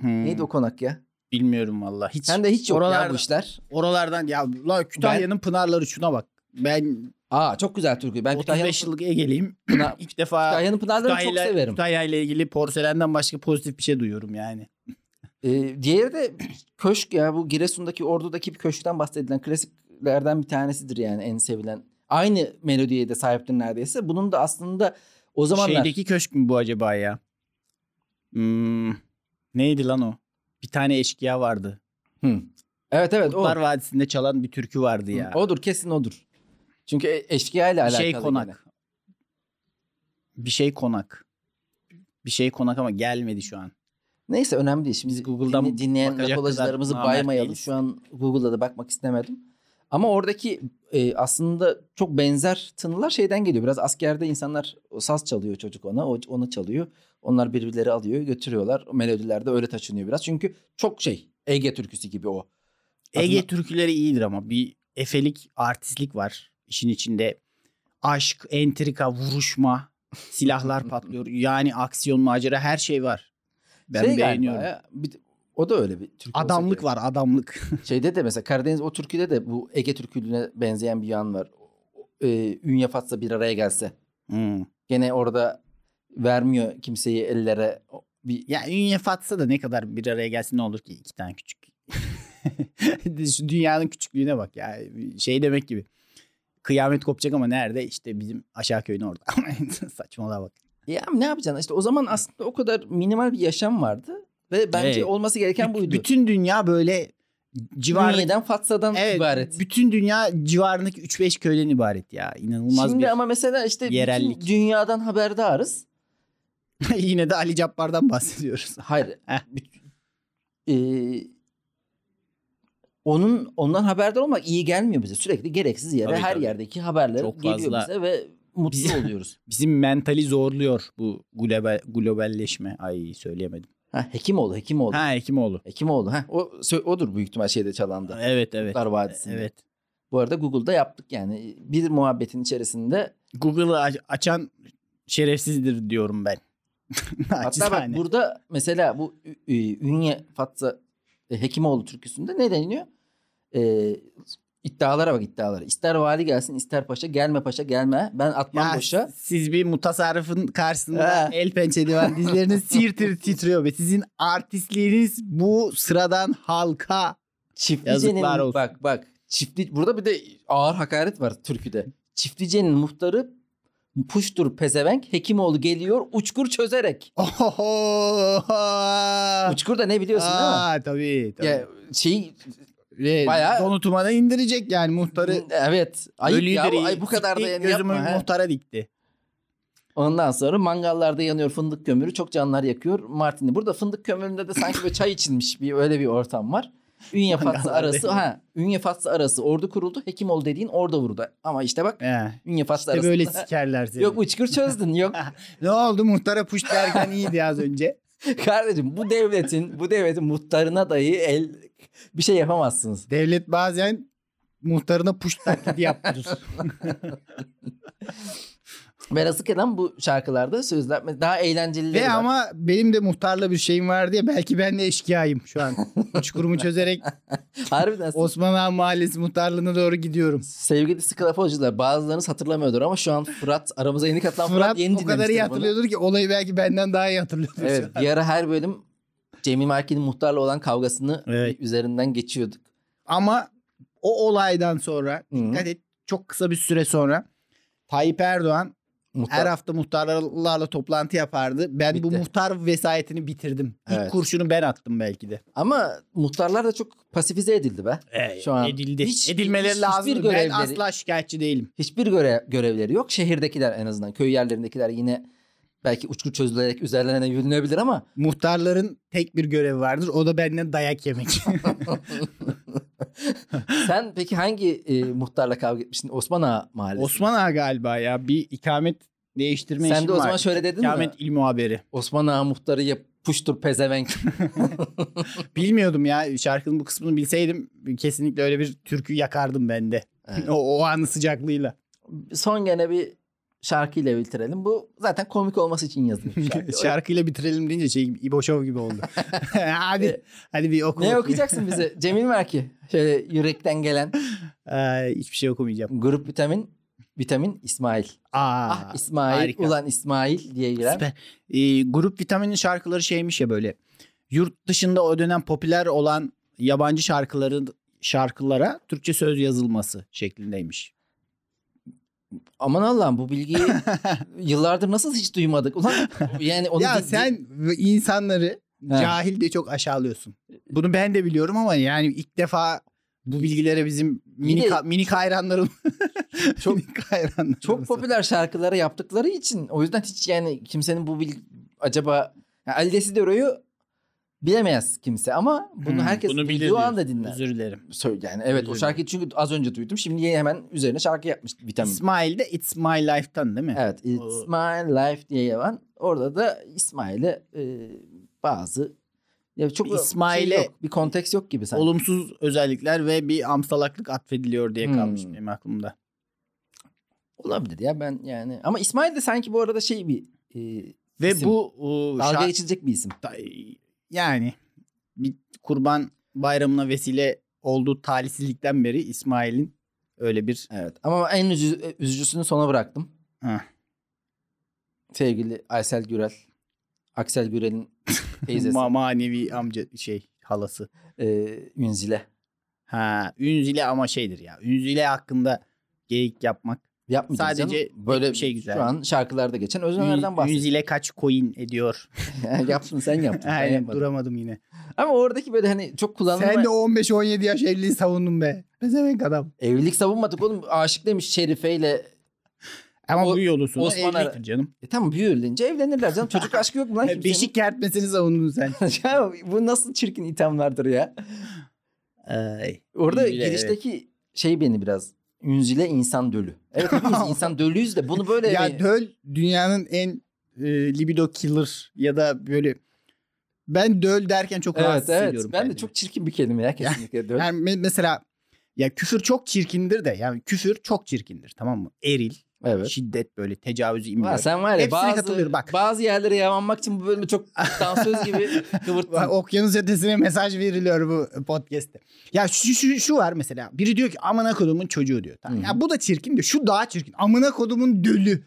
S2: Hmm,
S1: Neydi o konak ya?
S2: Bilmiyorum valla. Hiç
S1: Sen de hiç yok ya
S2: oralarda-
S1: bu işler.
S2: oralardan ya la Kütahya'nın pınarları şuna bak. Ben,
S1: Aa çok güzel türkü. Ben Kütahya'nın,
S2: 35 yıllık Ege'liyim.
S1: pınar-
S2: İlk defa
S1: Kütahya'nın pınarlarını çok
S2: Kütahya
S1: severim.
S2: Kütahya ile ilgili porselenden başka pozitif bir şey duyuyorum yani.
S1: Ee, diğeri de köşk ya bu Giresun'daki Ordu'daki bir köşkten bahsedilen klasiklerden bir tanesidir yani en sevilen. Aynı melodiye de sahiptir neredeyse. Bunun da aslında o zamanlar
S2: Şeydeki köşk mü bu acaba ya? Hmm, neydi lan o? Bir tane eşkıya vardı.
S1: Hı. Evet evet o.
S2: Kurtlar Vadisi'nde çalan bir türkü vardı ya.
S1: Hı, Odur kesin odur. Çünkü e- eşkıya ile
S2: bir
S1: alakalı.
S2: şey konak.
S1: gene.
S2: Bir şey konak. Bir şey konak ama gelmedi şu an.
S1: Neyse önemli değil. Şimdi
S2: Biz Google'dan
S1: dinle- dinleyen
S2: bakacak
S1: rakolacılarımızı
S2: kadar namert
S1: baymayalım.
S2: değiliz.
S1: Şu an Google'da da bakmak istemedim. Ama oradaki e, aslında çok benzer tınılar şeyden geliyor. Biraz askerde insanlar o saz çalıyor çocuk ona, o onu çalıyor. Onlar birbirleri alıyor, götürüyorlar. O melodiler de öyle taşınıyor biraz. Çünkü çok şey Ege türküsü gibi o.
S2: Ege
S1: Adına-
S2: türküleri iyidir ama bir efelik, artistlik var işin içinde. Aşk, entrika, vuruşma, silahlar patlıyor. Yani aksiyon, macera her şey var. Ben
S1: Şey galiba
S2: beğeniyorum.
S1: ya, bir- o da öyle bir türkü. olsa
S2: Adamlık
S1: gerek.
S2: var, adamlık.
S1: Şeyde de mesela Karadeniz o türküde de bu Ege türkülüğüne benzeyen bir yan var. E, Ünye Fatsa bir araya gelse.
S2: Hmm.
S1: Gene orada vermiyor kimseyi ellere O- bir
S2: Ya Ünye Fatsa da ne kadar bir araya gelsin ne olur ki iki tane küçük. Şu dünyanın küçüklüğüne bak ya. Şey demek gibi. Kıyamet kopacak ama nerede? İşte bizim aşağı köyün orada. Saçmalığa bak.
S1: ya ne yapacaksın işte o zaman aslında o kadar minimal bir yaşam vardı ve bence
S2: Evet.
S1: olması gereken buydu. Bütün
S2: Bütün dünya böyle civarda
S1: Dünyadan Fatsa'dan
S2: Evet,
S1: ibaret.
S2: Bütün dünya civarındaki 3-5 köyden ibaret ya. İnanılmaz
S1: Şimdi
S2: bir.
S1: ama mesela işte bütün
S2: yerellik.
S1: dünyadan haberdarız.
S2: Yine de Ali Cabbar'dan bahsediyoruz.
S1: Hayır.
S2: Heh.
S1: Bütün- Ee, onun ondan haberdar olmak iyi gelmiyor bize. Sürekli gereksiz yere
S2: Tabii,
S1: her
S2: tabii.
S1: yerdeki haberler
S2: Çok
S1: geliyor
S2: fazla-
S1: bize ve mutlu
S2: Bizi-
S1: oluyoruz.
S2: Bizim mentali zorluyor bu global, globalleşme. Ay söyleyemedim.
S1: Ha, hekim oldu, hekim oldu.
S2: Ha Ekimoğlu.
S1: Hekim oldu. Ha, o sö- odur büyük ihtimal şeyde çalandı.
S2: Evet evet. e,
S1: Kurtlar Vadisi'nde.
S2: Evet.
S1: Bu arada Google'da yaptık yani. Bir muhabbetin içerisinde.
S2: Google'ı aç- açan şerefsizdir diyorum ben.
S1: Hatta bak
S2: Naçizane.
S1: burada mesela bu Ü- Ü- Ünye Fatsa e, Hekimoğlu türküsünde ne deniliyor? Ee, iddialara bak iddialara. İster vali gelsin ister paşa gelme paşa gelme. Ben atmam
S2: Ya
S1: boşa.
S2: Siz bir mutasarrıfın karşısında
S1: Ha.
S2: el pençe divan dizleriniz tir tir titriyor be. Sizin artistliğiniz bu sıradan halka.
S1: Çiftlice'nin
S2: yazıklar olsun.
S1: bak bak. Çiftli, burada bir de ağır hakaret var türküde. Çiftlice'nin muhtarı puştur pezevenk Hekimoğlu geliyor uçkur çözerek.
S2: Oho! Ah.
S1: Uçkur da ne biliyorsun değil mi?
S2: Aa, tabii, tabii.
S1: Ya şey
S2: Ve
S1: Bayağı-
S2: donutuma da indirecek yani muhtarı.
S1: Evet. Ayıp
S2: ölüyü
S1: ya.
S2: diriyi
S1: Ay, bu kadar da
S2: dikti,
S1: yani
S2: Gözümü
S1: yapma. he.
S2: muhtara dikti.
S1: Ondan sonra mangallarda yanıyor fındık kömürü. Çok canlar yakıyor Martini. Burada fındık kömüründe de sanki böyle çay içilmiş bir öyle bir ortam var. Ünye Fatsa
S2: Mangallarda
S1: arası
S2: yanıyor.
S1: ha Ünye Fatsa arası ordu kuruldu. Hekimoğlu dediğin orada vurdu. Ama işte bak
S2: He.
S1: Ünye Fatsa
S2: İşte
S1: arasında
S2: böyle sikerler seni.
S1: yok uçkur çözdün yok.
S2: Ne oldu muhtara puş derken iyiydi az önce.
S1: Kardeşim bu devletin bu devletin muhtarına dahi el bir şey yapamazsınız.
S2: Devlet bazen muhtarına puş taklidi yaptırır.
S1: Ve Rasıka'dan bu şarkılarda sözler daha eğlenceli.
S2: Ve ama benim de muhtarla bir şeyim var diye belki ben de eşkıyayım şu an. Çukurumu çözerek
S1: Harbiden
S2: Osman Ağa Mahallesi muhtarlığına doğru gidiyorum.
S1: sevgili Sklafocular bazılarınız hatırlamıyordur ama şu an Fırat aramıza yeni katılan Fırat,
S2: Fırat
S1: yeni
S2: o kadar
S1: dinlemiştir
S2: iyi
S1: bunu.
S2: hatırlıyordur ki olayı belki benden daha iyi hatırlıyordur. şu
S1: Evet
S2: an.
S1: bir ara her bölüm Cemil Erkin'in muhtarla olan kavgasını
S2: Evet.
S1: üzerinden geçiyorduk.
S2: Ama o olaydan sonra
S1: Hı hı.
S2: dikkat et çok kısa bir süre sonra Tayyip Erdoğan
S1: Muhtar-
S2: her hafta muhtarlarla toplantı yapardı. Ben bu
S1: Bitti.
S2: muhtar vesayetini bitirdim.
S1: Evet.
S2: İlk kurşunu ben attım belki de.
S1: Ama muhtarlar da çok pasifize edildi be. Şu an
S2: E, edildi.
S1: hiç- hiç-
S2: Edilmeleri
S1: hiçbir
S2: lazım. Ben
S1: görevleri-
S2: asla şikayetçi değilim.
S1: Hiçbir göre- görevleri yok. Şehirdekiler en azından köy yerlerindekiler yine belki uçku çözülerek üzerlerine yürünebilir ama
S2: Muhtarların tek bir görevi vardır. O da benden dayak yemek.
S1: sen peki hangi e, muhtarla kavga etmiştin? Osman Ağa Mahallesi.
S2: Osman Ağa galiba ya bir ikamet değiştirme
S1: Sen
S2: işim
S1: de o zaman
S2: var.
S1: şöyle dedin mi?
S2: İkamet ilmi haberi.
S1: Osman Ağa muhtarı yap puştur pezevenk.
S2: Bilmiyordum ya şarkının bu kısmını bilseydim kesinlikle öyle bir türkü yakardım ben de.
S1: Evet.
S2: o, o anı sıcaklığıyla.
S1: Son gene bir şarkıyla bitirelim. Bu zaten komik olması için yazılmış bir şarkı.
S2: Şarkıyla bitirelim deyince şey gibi, İbo Show gibi oldu. hadi hadi bir oku.
S1: ne
S2: bakayım.
S1: okuyacaksın bize? Cemil Merki. Şöyle yürekten gelen
S2: Ee, hiçbir şey okumayacağım.
S1: grup vitamin vitamin İsmail.
S2: Aa,
S1: ah İsmail
S2: harika.
S1: ulan İsmail diye giren.
S2: süper. Ee, grup Vitamin'in şarkıları şeymiş ya böyle. Yurt dışında o dönem popüler olan yabancı şarkıların şarkılara Türkçe söz yazılması şeklindeymiş.
S1: Aman Allah'ım bu bilgiyi yıllardır nasıl hiç duymadık? Ulan yani onu
S2: ya
S1: di- di-
S2: sen ve insanları
S1: Ha.
S2: cahil de çok aşağılıyorsun. Bunu ben de biliyorum ama yani ilk defa bu bilgilere bizim minik
S1: de-
S2: ha- minik hayranlarım
S1: Çok-
S2: minik hayranlarımız
S1: çok popüler şarkıları yaptıkları için o yüzden hiç yani kimsenin bu bil acaba yani Ali Desidero'yu bilemez kimse ama bunu
S2: Hmm,
S1: herkes
S2: bunu bilir
S1: duyduğu anda
S2: diyorsun.
S1: dinler.
S2: Özür dilerim.
S1: Söyle yani evet o
S2: Üzüldüm.
S1: şarkıyı çünkü az önce duydum. Şimdi hemen üzerine şarkı yapmış vitamin.
S2: İsmail de It's My Life'tan değil mi?
S1: Evet It's My Life diye yalan. Orada da İsmail'e e, bazı ya çok
S2: İsmail'e-
S1: şey yok, bir konteks yok gibi sanki.
S2: Olumsuz özellikler ve bir amsalaklık atfediliyor diye
S1: Hmm.
S2: kalmış benim aklımda.
S1: Olabilir ya ben yani ama İsmail de sanki bu arada şey bir e,
S2: Ve
S1: İsim.
S2: bu o,
S1: dalga
S2: şa-
S1: geçilecek bir isim.
S2: ta- yani bir kurban bayramına vesile olduğu talihsizlikten beri İsmail'in öyle bir
S1: Evet ama en üzü- e, üzücüsünü sona bıraktım.
S2: Heh.
S1: Sevgili Aysel Gürel. Aksel Gürel'in teyzesi.
S2: ma- manevi amca şey halası.
S1: e, Ünzile.
S2: Ha, Ünzile ama şeydir ya. Ünzile hakkında geyik yapmak.
S1: Yapmayacağız
S2: Sadece
S1: canım. böyle
S2: bir şey güzel.
S1: Şu an şarkılarda geçen özenlerden
S2: Ün-
S1: bahsediyor.
S2: Ünzile kaç coin ediyor?
S1: Yaptın sen yaptın. ben
S2: Aynen
S1: yapmadım.
S2: duramadım yine.
S1: Ama oradaki böyle hani çok kullanılma...
S2: Sen de 15-17 yaş evliliği savundun be. Bezemek adam.
S1: Evlilik savunmadık oğlum. Aşık demiş Şerife ile.
S2: Ama
S1: O-
S2: bu yolun sonu
S1: Osman Ara-
S2: evliliktir canım.
S1: E tamam büyürülünce evlenirler canım. Çocuk aşkı yok mu lan kimsenin?
S2: Beşik kertmesini savundun sen.
S1: Ya bu nasıl çirkin ithamlardır ya.
S2: Ay.
S1: Orada
S2: Ünzile,
S1: girişteki şey beni biraz... Ünzile insan dölü. Evet hepimiz insan dölüyüz de bunu böyle... hani-
S2: Ya döl dünyanın en e, libido killer ya da böyle ben döl derken çok
S1: Evet
S2: rahatsız
S1: evet.
S2: ediyorum.
S1: Ben de
S2: kendimi.
S1: çok çirkin bir kelime ya kesinlikle. döl.
S2: yani me- mesela ya küfür çok çirkindir de yani küfür çok çirkindir tamam mı? Eril,
S1: evet.
S2: şiddet böyle tecavüzü
S1: Ha,
S2: imliyor.
S1: sen var ya
S2: Hepsine
S1: bazı,
S2: katılıyorum, bak.
S1: bazı yerlere yamanmak için bu bölümü çok dansöz gibi kıvırttın.
S2: Okyanus ötesine mesaj veriliyor bu podcast'te. Ya şu, şu, şu var mesela. Biri diyor ki amına kodumun çocuğu diyor. Tamam.
S1: Hı hı.
S2: Ya bu da çirkin diyor. Şu daha çirkin. Amına kodumun dölü.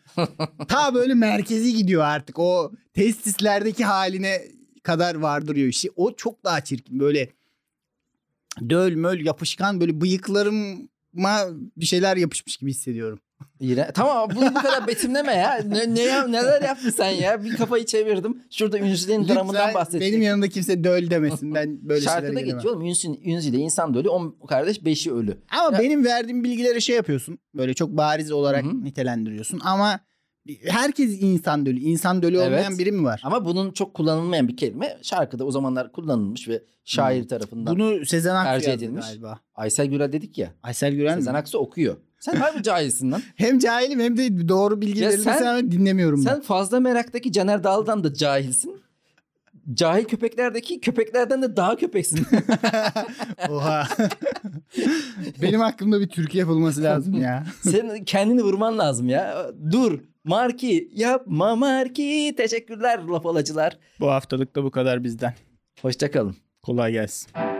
S2: Ta böyle merkezi gidiyor artık. O testislerdeki haline kadar vardırıyor işi. O çok daha çirkin. Böyle döl möl yapışkan böyle bıyıklarıma bir şeyler yapışmış gibi hissediyorum.
S1: İğren... Tamam bunu bu kadar betimleme ya. Ne, ne ya- neler yaptın sen ya? Bir kafayı çevirdim. Şurada Ünsü'nün
S2: Lütfen
S1: dramından bahsettik.
S2: Benim yanımda kimse döl demesin. Ben böyle şeylere
S1: Şarkıda
S2: gelemem.
S1: geçiyor oğlum. Ünsü, Ünsü'de insan da ölü. 10 kardeş 5'i ölü.
S2: Ama
S1: Ya-
S2: benim verdiğim bilgilere şey yapıyorsun. Böyle çok bariz olarak
S1: Hı.
S2: nitelendiriyorsun. Ama herkes insan dölü. İnsan dölü
S1: Evet.
S2: olmayan biri mi var?
S1: Ama bunun çok kullanılmayan bir kelime. Şarkıda o zamanlar kullanılmış ve şair tarafından.
S2: Hmm. Bunu Sezen Aksu
S1: tercih
S2: yazdı
S1: edilmiş.
S2: galiba.
S1: Aysel Gürel dedik ya.
S2: Aysel Gürel mi?
S1: Sezen Aksu okuyor. Sen harbi cahilsin lan.
S2: Hem cahilim hem de doğru bilgi
S1: Ya
S2: verilmesine
S1: sen-
S2: rağmen dinlemiyorum ben.
S1: Sen fazla meraktaki Caner Dağlı'dan da cahilsin. Cahil köpeklerdeki köpeklerden de daha köpeksin.
S2: Oha. Benim hakkımda bir Türkiye yapılması lazım ya.
S1: Senin kendini vurman lazım ya. Dur. Marki yapma Marki. Teşekkürler laf alacılar.
S2: Bu haftalık da bu kadar bizden.
S1: Hoşçakalın.
S2: Kolay gelsin.